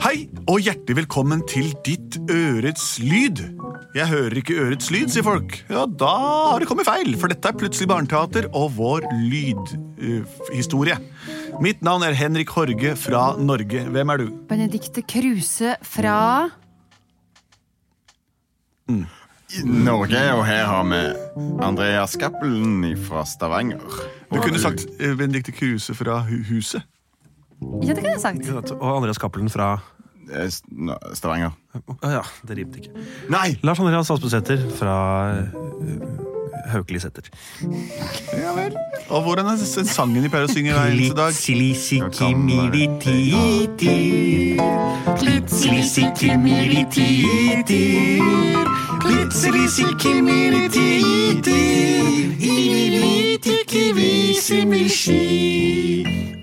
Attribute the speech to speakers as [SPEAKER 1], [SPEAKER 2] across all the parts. [SPEAKER 1] Hei, og hjertelig velkommen til ditt ørets lyd. Jeg hører ikke ørets lyd, sier folk. Ja, da har det kommet feil, for dette er plutselig barneteater og vår lydhistorie. Mitt navn er Henrik Horge fra Norge. Hvem er du?
[SPEAKER 2] Benedicte Kruse fra
[SPEAKER 3] I Norge, og her har vi Andreas Cappelen fra Stavanger.
[SPEAKER 1] Du kunne sagt eh, Benedicte Kruse fra Hu- Huset.
[SPEAKER 2] Ja, det kunne jeg sagt.
[SPEAKER 4] Ikke sant? Og Andreas Cappelen fra
[SPEAKER 3] Eh, S- Nå- Stavanger.
[SPEAKER 4] Å ja, det rimte ikke.
[SPEAKER 3] Nei!
[SPEAKER 4] Lars Andreas Aspesæter fra eh, Haukeli Sæter.
[SPEAKER 1] Ja vel. Og hvordan er s- sangen de pleier å synge hver eneste dag?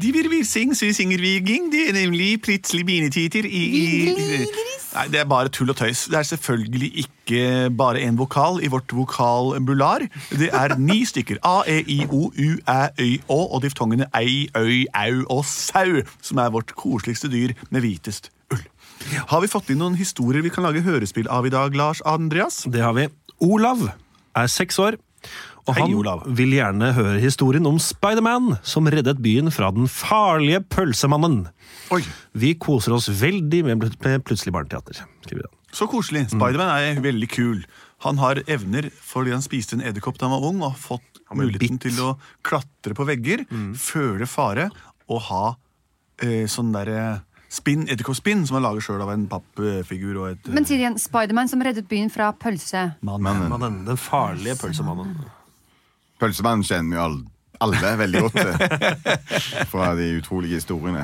[SPEAKER 1] De vil vi sing, så vi synger vi ging, de er nemlig plutselig binetiter i, i, i Nei, det er bare tull og tøys. Det er selvfølgelig ikke bare én vokal i vårt vokalbular. Det er ni stykker. A, E, I, O, U, Æ, Øy, Å og diftongene ei, øy, au og sau, som er vårt koseligste dyr med hvitest ull. Har vi fått inn noen historier vi kan lage hørespill av i dag, Lars Andreas?
[SPEAKER 4] Det har vi. Olav er seks år. Og
[SPEAKER 1] Hei,
[SPEAKER 4] han
[SPEAKER 1] Olav.
[SPEAKER 4] vil gjerne høre historien om Spiderman som reddet byen fra den farlige pølsemannen.
[SPEAKER 1] Oi,
[SPEAKER 4] Vi koser oss veldig med, plut- med Plutselig barneteater. skriver han.
[SPEAKER 1] Så koselig. Spiderman er veldig kul. Han har evner fordi han spiste en edderkopp da han var ung, og har fått
[SPEAKER 4] ble
[SPEAKER 1] muligheten
[SPEAKER 4] bitt.
[SPEAKER 1] til å klatre på vegger, føle fare og ha eh, sånn derre spinn, edderkoppspinn, som han lager sjøl av en pappfigur og et
[SPEAKER 2] Men sier igjen Spiderman som reddet byen fra pølse.
[SPEAKER 1] mann.
[SPEAKER 4] Mannen, den farlige pølsemannen.
[SPEAKER 3] Pølsemannen kjenner jo all- alle veldig godt til. Fra de utrolige historiene.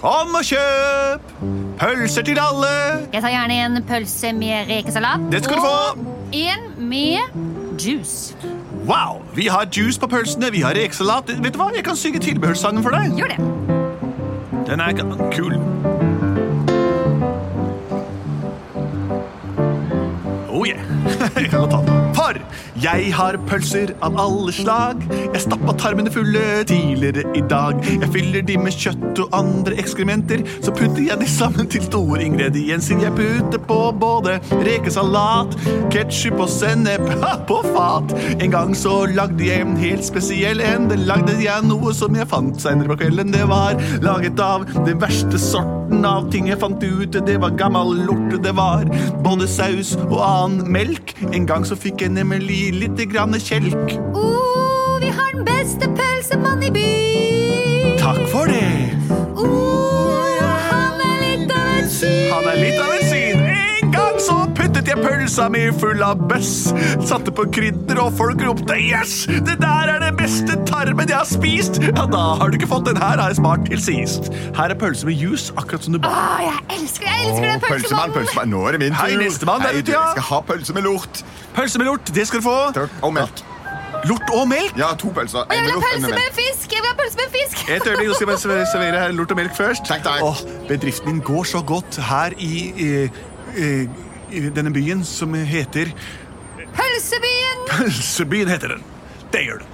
[SPEAKER 1] Kom og kjøp pølser til alle!
[SPEAKER 2] Jeg tar gjerne en pølse med rekesalat.
[SPEAKER 1] Det skal du
[SPEAKER 2] og
[SPEAKER 1] få!
[SPEAKER 2] En med juice.
[SPEAKER 1] Wow! Vi har juice på pølsene, vi har rekesalat. Vet du hva? Jeg kan synge tilbehørssangen for deg.
[SPEAKER 2] Gjør det.
[SPEAKER 1] Den er ga- kul. Oh yeah. jeg kan godt ta den. For jeg har pølser av alle slag. Jeg stappa tarmene fulle tidligere i dag. Jeg fyller de med kjøtt og andre ekskrementer. Så putter jeg de sammen til store ingredienser. Jeg putter på både rekesalat, ketsjup og sennep på fat. En gang så lagde jeg en helt spesiell en. Den lagde jeg noe som jeg fant seinere på kvelden. Det var laget av den verste sorten av ting jeg fant ut. Det var gammel lort, det var både saus og annen melk. En gang så fikk jeg nemlig lite grann kjelk.
[SPEAKER 2] Å, Oh, vi har den beste pølsemannen i byen.
[SPEAKER 1] Takk for det!
[SPEAKER 2] Å, han er litt av en syk.
[SPEAKER 1] Han er litt av et syn. En gang så puttet jeg pølsa mi full av bøss. Satte på krydder, og folk ropte yes! Det der er den beste tarmen jeg har spist! Ja, da har du ikke fått den her, har jeg spart til sist. Her er pølse med juice, akkurat som du ba.
[SPEAKER 2] Å, Ah, jeg elsker, jeg elsker
[SPEAKER 3] Å,
[SPEAKER 2] den
[SPEAKER 3] pølsemann,
[SPEAKER 2] pølsemannen.
[SPEAKER 3] pølsemann. Nå er det min tur.
[SPEAKER 1] Hei, nestemann, der
[SPEAKER 3] Hei,
[SPEAKER 1] ute,
[SPEAKER 3] du,
[SPEAKER 1] ja.
[SPEAKER 3] jeg skal ha pølse med lort.
[SPEAKER 1] Pølse med lort, det skal du få.
[SPEAKER 3] Takk, Og melk.
[SPEAKER 1] Lort og melk.
[SPEAKER 3] Ja, to pølser.
[SPEAKER 2] Og
[SPEAKER 3] En
[SPEAKER 2] jeg
[SPEAKER 3] med
[SPEAKER 2] vil ha
[SPEAKER 3] lort, en
[SPEAKER 2] pølse
[SPEAKER 3] med melk.
[SPEAKER 2] med fisk! Jeg vil ha pølse med fisk!
[SPEAKER 1] Et øyeblikk, nå skal jeg bare servere her lort og melk først.
[SPEAKER 3] Takk, takk.
[SPEAKER 1] Åh, bedriften min går så godt her i, eh, eh, i denne byen som heter
[SPEAKER 2] Pølsebyen!
[SPEAKER 1] Pølsebyen heter den. Det gjør den.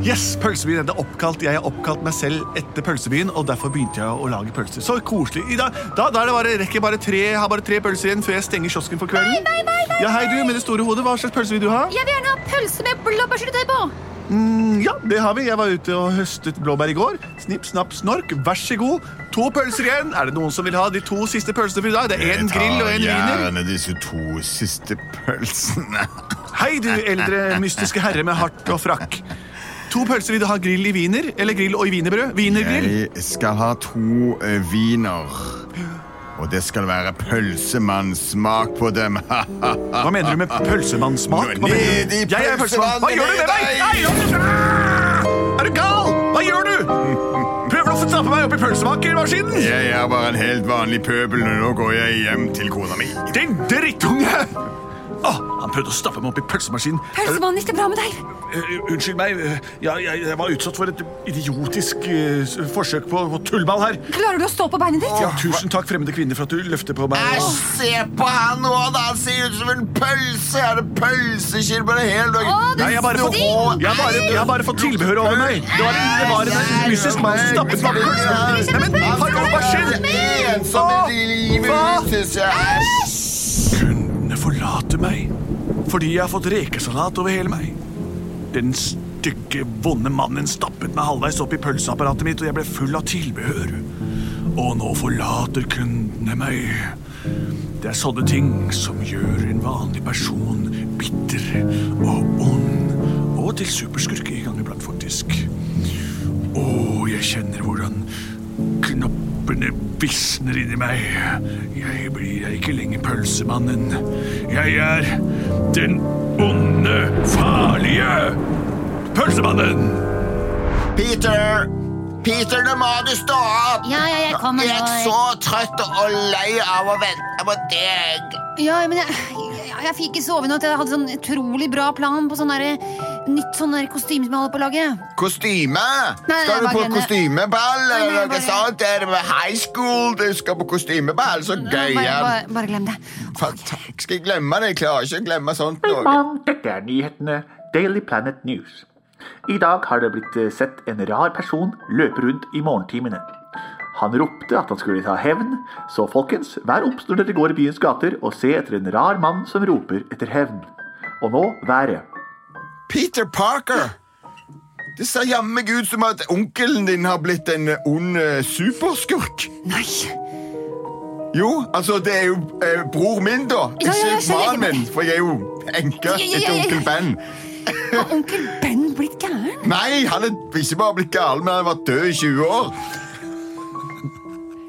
[SPEAKER 1] Yes, pølsebyen er det oppkalt. Jeg har oppkalt meg selv etter pølsebyen, og derfor begynte jeg å lage pølser. Så koselig. I dag, da, da er det bare, rekker jeg bare tre, har bare tre pølser igjen før jeg stenger kiosken for kvelden.
[SPEAKER 2] Nei, nei, nei, nei,
[SPEAKER 1] Ja, hei du, med det store hodet. Hva slags pølse vil du ha?
[SPEAKER 2] Jeg vil gjerne ha pølse med blåbærsyltetøy på!
[SPEAKER 1] Mm, ja, det har vi. Jeg var ute og høstet blåbær i går. Snipp, snapp, snork. Vær så god. To pølser igjen. Er det noen som vil ha de to siste pølsene for i dag? Det er én grill og én
[SPEAKER 3] Jeg tar
[SPEAKER 1] wiener.
[SPEAKER 3] Gjerne disse to siste pølsene.
[SPEAKER 1] Hei, du eldre mystiske herre med hart og frakk. To pølser vil du ha grill i wiener eller grill og i wienerbrød? Wienergrill.
[SPEAKER 3] Jeg skal ha to eh, viner. Og det skal være pølsemannsmak på dem.
[SPEAKER 1] Hva mener du med pølsemannsmak? Hva mener
[SPEAKER 3] Ned
[SPEAKER 1] du?
[SPEAKER 3] i
[SPEAKER 1] Jeg er pølsemann. Hva gjør du med meg? Nei, hold kjeft! Ah! Er du gal? Hva gjør du? Prøver du å stappe meg opp i pølsemakermaskinen?
[SPEAKER 3] Jeg er bare en helt vanlig pøbel, og nå går jeg hjem til kona mi.
[SPEAKER 1] Din drittunge! Åh, han prøvde å stappe meg opp i pølsemaskinen.
[SPEAKER 2] Pølsemannen, gikk det bra med deg?
[SPEAKER 1] Eh, unnskyld meg, eh, jeg, jeg, jeg var utsatt for et idiotisk eh, s- forsøk på, på tullball her.
[SPEAKER 2] Klarer du å stå på beinet ditt?
[SPEAKER 1] Ja, tusen takk, fremmede kvinne, for at du løfter på meg.
[SPEAKER 3] se på han nå, da! Han ser ut som en pølse! Er det pølsekirpe eller hel?
[SPEAKER 2] Å, du
[SPEAKER 1] Nei, jeg har bare fått,
[SPEAKER 2] stink!
[SPEAKER 1] jeg har bare, jeg har bare fått tilbehør over meg. Det var en, det var en mystisk mann som stappet meg. Nei, men, hallo, hva hater meg fordi jeg har fått rekesalat over hele meg. Den stygge, vonde mannen stappet meg halvveis opp i pølseapparatet mitt, og jeg ble full av tilbehør. Og nå forlater kundene meg. Det er sånne ting som gjør en vanlig person bitter og ond. Og til superskurk i gang iblant, faktisk. Å, jeg kjenner hvordan knappene visner inni meg. Jeg blir ikke lenger pølsemannen. Jeg er den onde, farlige pølsemannen.
[SPEAKER 3] Peter! Peter, nå må du stå opp!
[SPEAKER 2] Ja, ja, jeg kommer
[SPEAKER 3] Jeg er
[SPEAKER 2] nå.
[SPEAKER 3] så trøtt og lei av å vente på deg.
[SPEAKER 2] Ja, men jeg, jeg, jeg fikk ikke sove i natt. Jeg hadde sånn utrolig bra plan på sånn derre- nytt sånn der kostyme som jeg holder på å lage.
[SPEAKER 3] Kostyme?
[SPEAKER 2] Nei, nei,
[SPEAKER 3] skal du
[SPEAKER 2] bare
[SPEAKER 3] på
[SPEAKER 2] glem det.
[SPEAKER 3] kostymeball
[SPEAKER 2] Nei, nei,
[SPEAKER 3] eller noe
[SPEAKER 2] bare-
[SPEAKER 3] sånt? Er det med high school du skal på kostymeball? Så gøy.
[SPEAKER 2] Bare,
[SPEAKER 3] ja.
[SPEAKER 2] bare, bare glem det.
[SPEAKER 3] Fantastisk. Skal jeg glemme det? Jeg klarer ikke å glemme sånt noe.
[SPEAKER 5] Mann, dette er nyhetene Daily Planet News. I dag har det blitt eh, sett en rar person løpe rundt i morgentimene. Han ropte at han skulle ta hevn, så folkens, vær obs når dere går i byens gater og se etter en rar mann som roper etter hevn. Og nå været.
[SPEAKER 6] Peter Parker!
[SPEAKER 3] Det ser jammen ut som at onkelen din har blitt en ond eh, superskurk.
[SPEAKER 2] Nei!
[SPEAKER 3] Jo, altså, det er jo eh, bror min, da.
[SPEAKER 2] Ja, ja, ja,
[SPEAKER 3] Ikke
[SPEAKER 2] skjønner jeg.
[SPEAKER 3] faren min, for jeg er jo enke
[SPEAKER 2] Ja, ja, ja,
[SPEAKER 3] etter
[SPEAKER 2] ja, ja.
[SPEAKER 3] onkel Ben.
[SPEAKER 2] Har onkel Ben blitt gæren?
[SPEAKER 3] Nei, han er ikke bare blitt gal, men han har vært død i 20 år.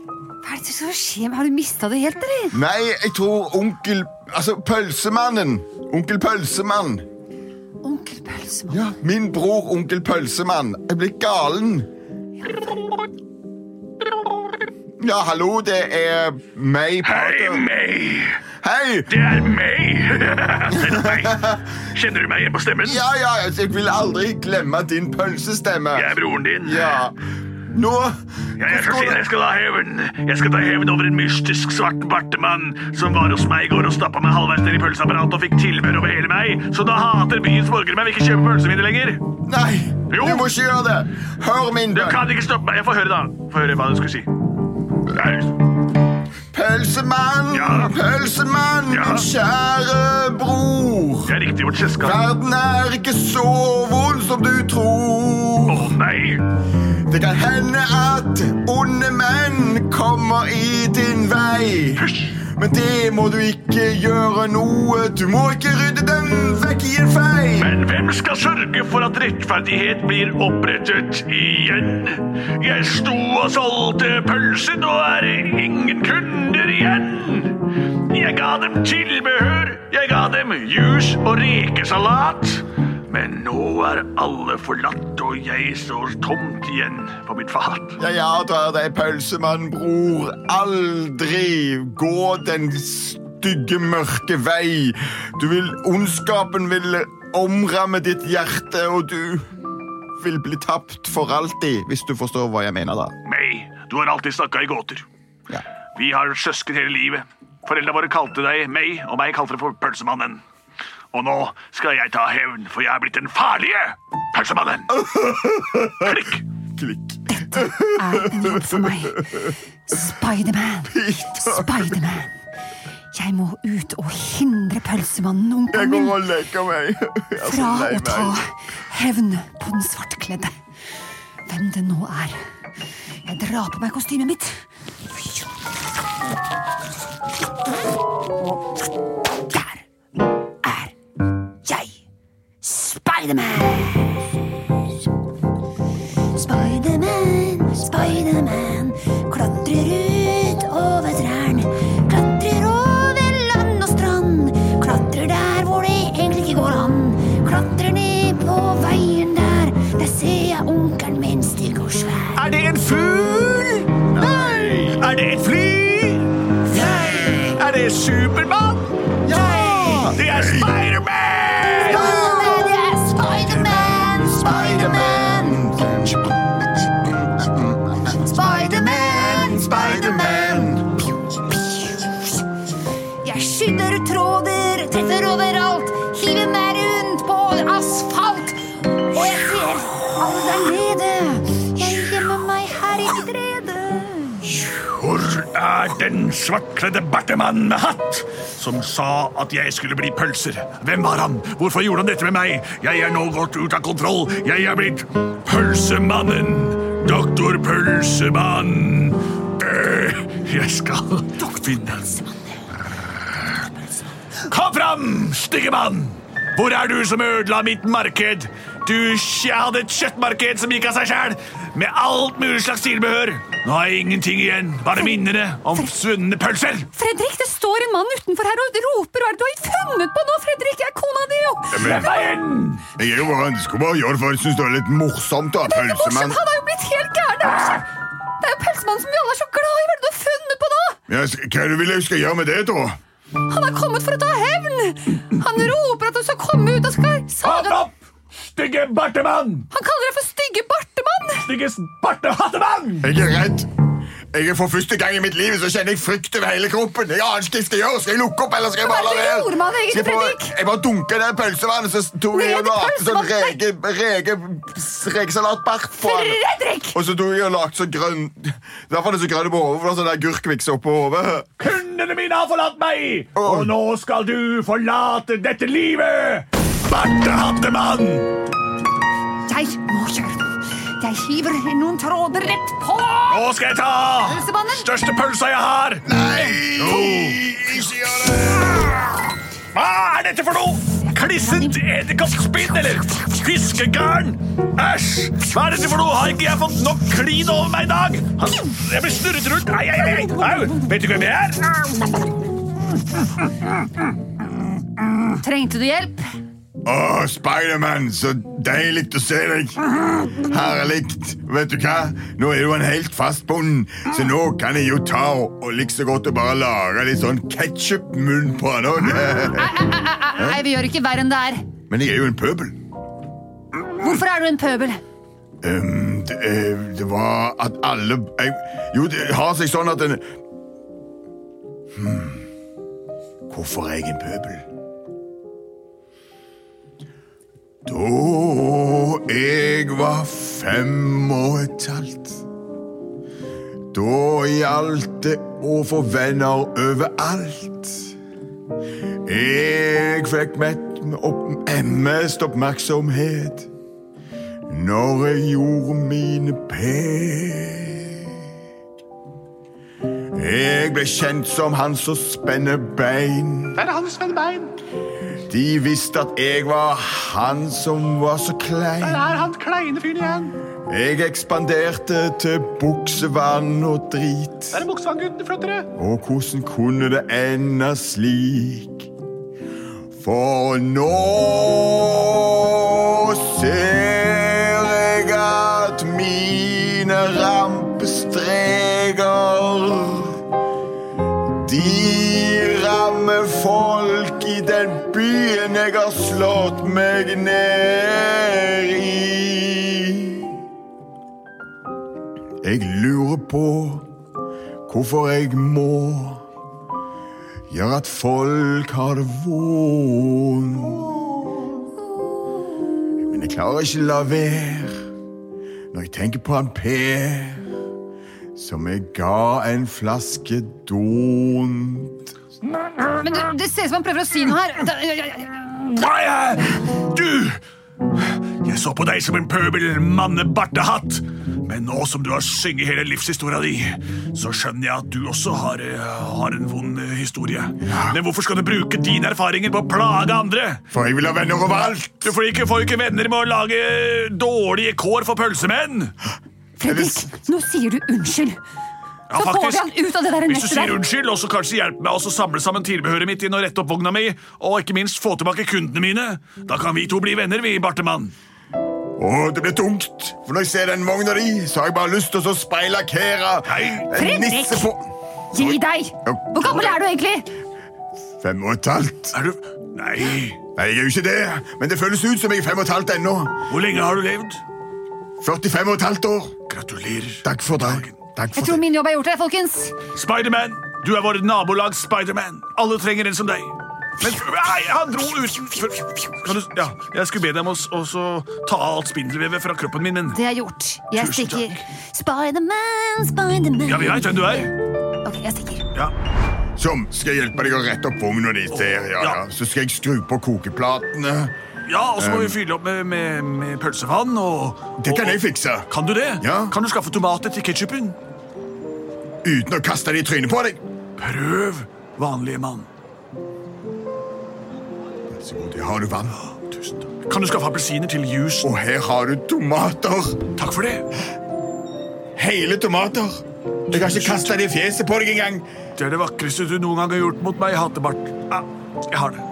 [SPEAKER 2] Hva er det som skjer? Har du mista det helt, eller?
[SPEAKER 3] Nei, jeg tror onkel Altså, pølsemannen. Onkel Pølsemann.
[SPEAKER 2] Onkel Pølsemann.
[SPEAKER 3] Ja, min bror onkel Pølsemann. Jeg ble galen. Ja, hallo, det er meg,
[SPEAKER 1] Hei,
[SPEAKER 3] Parker.
[SPEAKER 1] meg!
[SPEAKER 3] Hei!
[SPEAKER 1] Det er meg! Det er meg. Kjenner du meg igjen på stemmen?
[SPEAKER 3] Ja, ja, jeg vil aldri glemme din pølsestemme.
[SPEAKER 1] Jeg er broren din.
[SPEAKER 3] Ja. Nå
[SPEAKER 1] Jeg er så sint, jeg skal ta hevn. Jeg skal ta hevn over en mystisk svart bartemann som var hos meg i går og stappa meg halvveis ned i pølseapparatet og fikk tilbehør over hele meg. Så da hater byens borgere meg og vil ikke kjøpe pølser mine lenger.
[SPEAKER 3] Nei,
[SPEAKER 1] Jo.
[SPEAKER 3] du må ikke gjøre det. Hør min
[SPEAKER 1] Du
[SPEAKER 3] bønn.
[SPEAKER 1] kan ikke stoppe meg. Jeg får høre, da. Få høre hva du skulle si. Nei,
[SPEAKER 3] Pølsemann,
[SPEAKER 1] Ja.
[SPEAKER 3] pølsemann,
[SPEAKER 1] Ja.
[SPEAKER 3] min kjære bror.
[SPEAKER 1] Det er riktig vårt selskap.
[SPEAKER 3] Verden er ikke så vond som du tror.
[SPEAKER 1] Å nei!
[SPEAKER 3] Det kan hende at onde menn kommer i din vei.
[SPEAKER 1] Hysj!
[SPEAKER 3] Men det må du ikke gjøre noe. Du må ikke rydde dem vekk i en fei.
[SPEAKER 1] Men hvem skal sørge for at rettferdighet blir opprettet igjen? Jeg sto og solgte pølser, nå er det ingen kunder igjen. Jeg ga dem tilbehør, jeg ga dem juice og rekesalat. Men nå er alle forlatt, og jeg står tomt igjen på mitt fat.
[SPEAKER 3] Jeg advarer deg, pølsemann, bror. Aldri gå den stygge, mørke vei. Du vil, ondskapen vil omramme ditt hjerte, og du vil bli tapt for alltid, hvis du forstår hva jeg mener da.
[SPEAKER 1] May, du har alltid snakka i gåter.
[SPEAKER 3] Ja.
[SPEAKER 1] Vi har søsken hele livet. Foreldra våre kalte deg May, og meg kalte dere for Pølsemannen. Og nå skal jeg ta hevn, for jeg er blitt den farlige pølsemannen. Klikk!
[SPEAKER 3] Klikk.
[SPEAKER 2] Er en jobb for meg. Spiderman. Spiderman. Jeg må ut og hindre pølsemannen,
[SPEAKER 3] Jeg
[SPEAKER 2] onkelen
[SPEAKER 3] går
[SPEAKER 2] min,
[SPEAKER 3] og leker meg. Jeg er så
[SPEAKER 2] fra
[SPEAKER 3] Altså, lei
[SPEAKER 2] å ta
[SPEAKER 3] meg.
[SPEAKER 2] hevn på den svartkledde. Hvem det nå er. Jeg drar på meg kostymet mitt. Og der er jeg. Spiderman! Spiderman, Spiderman klatrer ut over trærne. Klatrer over land og strand. Klatrer der hvor det egentlig ikke går an. Klatrer ned på veien der. Der ser jeg onkelen min stygg og svær.
[SPEAKER 1] Er det en fugl? Nei. Er det et fly? Nei. Er det Supermann? Ja! Det er Spiderman!
[SPEAKER 2] Spiderman, jeg er Spiderman, Spiderman. Spiderman,
[SPEAKER 3] Spiderman.
[SPEAKER 2] Jeg skynder tråder, treffer overalt, hiver meg rundt på asfalt. Og jeg ser alle der nede. Jeg gjemmer meg her i et rede.
[SPEAKER 1] Hvor er den svartkledde bartemannen med hatt som sa at jeg skulle bli pølser? Hvem var han? Hvorfor gjorde han dette med meg? Jeg er nå gått ut av kontroll. Jeg er blitt Pølsemannen. Doktor Pølsemann. Øh, Jeg skal finne Kom fram, stygge mann! Hvor er du som ødela mitt marked? Du, jeg hadde et kjøttmarked som gikk av seg sjæl, med alt mulig slags tilbehør. Nå har jeg ingenting igjen, bare minnene om svunne pølser.
[SPEAKER 7] Fredrik, det står en mann utenfor her og roper. Hva er det du har funnet på nå, Fredrik? Jeg er kona di, jo!
[SPEAKER 1] Slipp meg inn!
[SPEAKER 3] Jeg er jo bare, jeg skulle bare gjøre det, for jeg syns det er litt morsomt, da.
[SPEAKER 7] Morsomt,
[SPEAKER 3] Pølsemann.
[SPEAKER 7] han er jo blitt helt gæren. Det er jo kjem- Det er jo pølsemannen som vi alle er så glad i. Hva er det du har funnet på nå?
[SPEAKER 3] Ja, s- hva er det du vil jeg skal gjøre med det, da?
[SPEAKER 7] Han har kommet for å ta hevn! Han roper at du skal komme ut og skal
[SPEAKER 1] Hold
[SPEAKER 7] sage
[SPEAKER 1] opp! Stygge bartemann!
[SPEAKER 7] Han kaller deg for stygge bartemann!
[SPEAKER 1] Stygge bartehattemann!
[SPEAKER 3] Jeg er redd. Jeg er For første gang i mitt liv så kjenner jeg frykt over hele kroppen. Jeg aner ikke hva jeg skal gjøre. Skal jeg lukke opp, eller skal jeg
[SPEAKER 7] Hva er
[SPEAKER 3] bare
[SPEAKER 7] det
[SPEAKER 3] la
[SPEAKER 7] du
[SPEAKER 3] være?
[SPEAKER 7] gjorde med han, egentlig,
[SPEAKER 3] Skal jeg bare-
[SPEAKER 7] Fredrik?
[SPEAKER 3] Jeg bare dunka ned pølsevannet, så
[SPEAKER 7] Ned
[SPEAKER 3] tok jeg og
[SPEAKER 7] i
[SPEAKER 3] lagde sånn
[SPEAKER 7] pølsevannet?
[SPEAKER 3] reke, reke, rekesalatbart på han.
[SPEAKER 7] Fredrik!
[SPEAKER 3] Og så tok jeg og lagde så grønn Derfor er det så grønn på hodet, for det er sånn agurkvikse oppå hodet.
[SPEAKER 1] Kundene mine har forlatt meg, og nå skal du forlate dette livet! Bartehattemann!
[SPEAKER 2] Jeg må kjøre. Jeg hiver noen tråder rett på.
[SPEAKER 1] Nå skal jeg ta
[SPEAKER 2] Pølsemannen.
[SPEAKER 1] største pølsa jeg har. Nei!
[SPEAKER 3] Ikke gjør det!
[SPEAKER 1] Hva er dette for noe? Klisset edderkoppspinn, eller? Fiskegarn? Æsj! Hva er dette for noe? Har ikke jeg fått nok klin over meg i dag? Han, jeg blir snurret rundt. Ai, ai, ai, ai. Au! Vet du hvem jeg er?
[SPEAKER 7] Trengte du hjelp?
[SPEAKER 3] Å, Spiderman, så deilig å se deg. Herlig. Vet du hva? Nå er du en helt fast bond, så nå kan jeg jo ta og og like så godt og bare lage litt sånn ketsjup-munn på han òg.
[SPEAKER 7] Nei, vi gjør ikke verre enn det er.
[SPEAKER 3] Men jeg er jo en pøbel.
[SPEAKER 7] Hvorfor er du en pøbel?
[SPEAKER 3] Ehm, det, eh, det var at alle jeg, Jo, det har seg sånn at en hmm, Hvorfor er jeg en pøbel? Da jeg var fem og et halvt Da gjaldt det å få venner overalt. Jeg fikk mett opp, mest oppmerksomhet når jeg gjorde mine pek. Jeg ble kjent som han som spenner bein.
[SPEAKER 8] Der er han spenner bein.
[SPEAKER 3] De visste at jeg var han som var så
[SPEAKER 8] Der
[SPEAKER 3] klein.
[SPEAKER 8] er han kleine fyren igjen.
[SPEAKER 3] Jeg ekspanderte til buksevann og drit.
[SPEAKER 8] Der er Buksvanngutten flyttere.
[SPEAKER 3] Og hvordan kunne det ende slik? For nå ser jeg at mine rampestreker De rammer folk i den byen jeg har slått meg ned i. Jeg lurer på hvorfor jeg må gjøre at folk har det vondt. Men jeg klarer ikke la være når jeg tenker på han Per, som jeg ga en flaske dont.
[SPEAKER 7] Men du, Det ser ut som han prøver å si noe her. Da- ja, ja, ja.
[SPEAKER 1] Nei, eh, du! Jeg så på deg som en pøbel mannebartehatt. Men nå som du har synget hele livshistoria di, så skjønner jeg at du også har, eh, har en vond eh, historie. Men hvorfor skal du bruke dine erfaringer på å plage andre?
[SPEAKER 3] For jeg vil ha venner overalt!
[SPEAKER 1] Du får ikke, får ikke venner med å lage dårlige kår for pølsemenn.
[SPEAKER 7] Fredrik, nå sier du unnskyld.
[SPEAKER 1] Ja,
[SPEAKER 7] Så får vi han ut av det der
[SPEAKER 1] Hvis du
[SPEAKER 7] nettet
[SPEAKER 1] sier
[SPEAKER 7] der.
[SPEAKER 1] unnskyld, og så kanskje hjelpe meg også samle sammen tilbehøret mitt inn og rette opp vogna mi, og ikke minst få tilbake kundene mine, da kan vi to bli venner, vi, Bartemann.
[SPEAKER 3] Åh, det blir tungt, for når jeg ser den vogna di, så har jeg bare lyst til å speilakere
[SPEAKER 1] Nei.
[SPEAKER 3] en nisse
[SPEAKER 7] Fredrik!
[SPEAKER 3] på
[SPEAKER 7] Gi deg! Hvor gammel er du egentlig?
[SPEAKER 3] Fem og et halvt.
[SPEAKER 1] Er du Nei.
[SPEAKER 3] Nei, jeg er jo ikke det, men det føles ut som jeg er fem og et halvt ennå.
[SPEAKER 1] Hvor lenge har du levd?
[SPEAKER 3] 45 og et halvt år.
[SPEAKER 1] Gratulerer.
[SPEAKER 3] Takk for dagen. Takk
[SPEAKER 7] Jeg
[SPEAKER 3] for
[SPEAKER 7] tror
[SPEAKER 3] det.
[SPEAKER 7] min jobb er gjort her, folkens.
[SPEAKER 1] Spiderman, du er vår nabolags Spiderman. Alle trenger en som deg. Men nei, han dro uten kan du, ja, Jeg skulle be deg om å s- også ta av alt spindelvevet fra kroppen min, men
[SPEAKER 7] Det er gjort. Jeg
[SPEAKER 1] Tusen takk.
[SPEAKER 7] stikker.
[SPEAKER 2] Spiderman, Spiderman.
[SPEAKER 1] ja, vi veit hvem du er.
[SPEAKER 2] Ok, jeg stikker.
[SPEAKER 1] Ja.
[SPEAKER 3] Som skal jeg hjelpe deg å rette opp vogna di. Ser, ja, ja.
[SPEAKER 1] Ja.
[SPEAKER 3] Så skal jeg skru på kokeplatene.
[SPEAKER 1] ja, og så må vi fylle opp med, med, med pølsevann og
[SPEAKER 3] Um. Det kan
[SPEAKER 1] og-
[SPEAKER 3] jeg fikse.
[SPEAKER 1] Kan du det?
[SPEAKER 3] Ja.
[SPEAKER 1] Kan du skaffe tomater til ketsjupen?
[SPEAKER 3] Uten å kaste det i trynet på deg.
[SPEAKER 1] Prøv, vanlige mann.
[SPEAKER 3] Vær så god, her har du vann.
[SPEAKER 1] Tusen takk. Kan du skaffe appelsiner til juicen?
[SPEAKER 3] Og her har du tomater.
[SPEAKER 1] Takk for det.
[SPEAKER 3] Hele tomater. Jeg har ikke kasta det i fjeset på deg engang.
[SPEAKER 1] Det er det vakreste du noen gang har gjort mot meg, hattebart. Ja, jeg har det.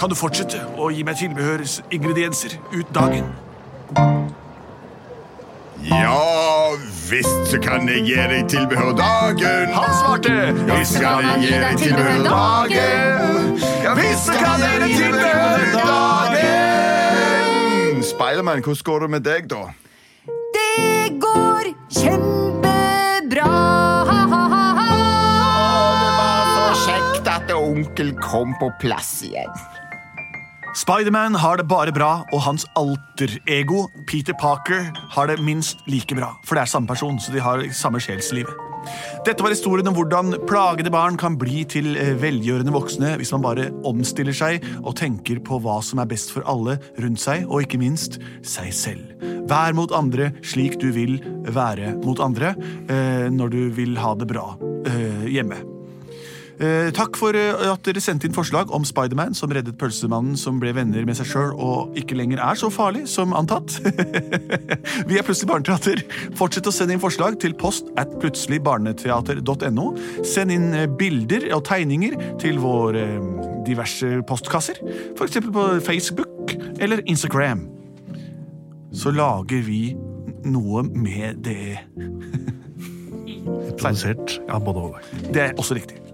[SPEAKER 1] Kan du fortsette å gi meg tilbehørsingredienser ut dagen?
[SPEAKER 3] Ja visst så kan jeg gi deg tilbehør dagen.
[SPEAKER 1] Han svarte!
[SPEAKER 3] Visst kan jeg gi deg tilbehør dagen.
[SPEAKER 9] Ja, visst
[SPEAKER 3] kan dere tilbehør
[SPEAKER 9] dagen! Spiderman, hvordan går det med deg, da?
[SPEAKER 2] Det går kjempebra, ha-ha-ha-ha.
[SPEAKER 9] Kjekt at onkel kom på plass igjen.
[SPEAKER 1] Spiderman har det bare bra, og hans alter-ego, Peter Parker, har det minst like bra. For det er samme person, så de har samme sjelsliv. Dette var historien om hvordan plagede barn kan bli til eh, velgjørende voksne hvis man bare omstiller seg og tenker på hva som er best for alle rundt seg, og ikke minst seg selv. Vær mot andre slik du vil være mot andre eh, når du vil ha det bra eh, hjemme. Eh, takk for eh, at dere sendte inn forslag om Spiderman som reddet pølsemannen som ble venner med seg sjøl og ikke lenger er så farlig som antatt. Vi er Plutselig barneteater. Fortsett å sende inn forslag til post at plutseligbarneteater.no. Send inn eh, bilder og tegninger til våre eh, diverse postkasser, f.eks. på Facebook eller Instagram. Så lager vi n- noe med det.
[SPEAKER 4] Produsert av både og.
[SPEAKER 1] Det er også riktig.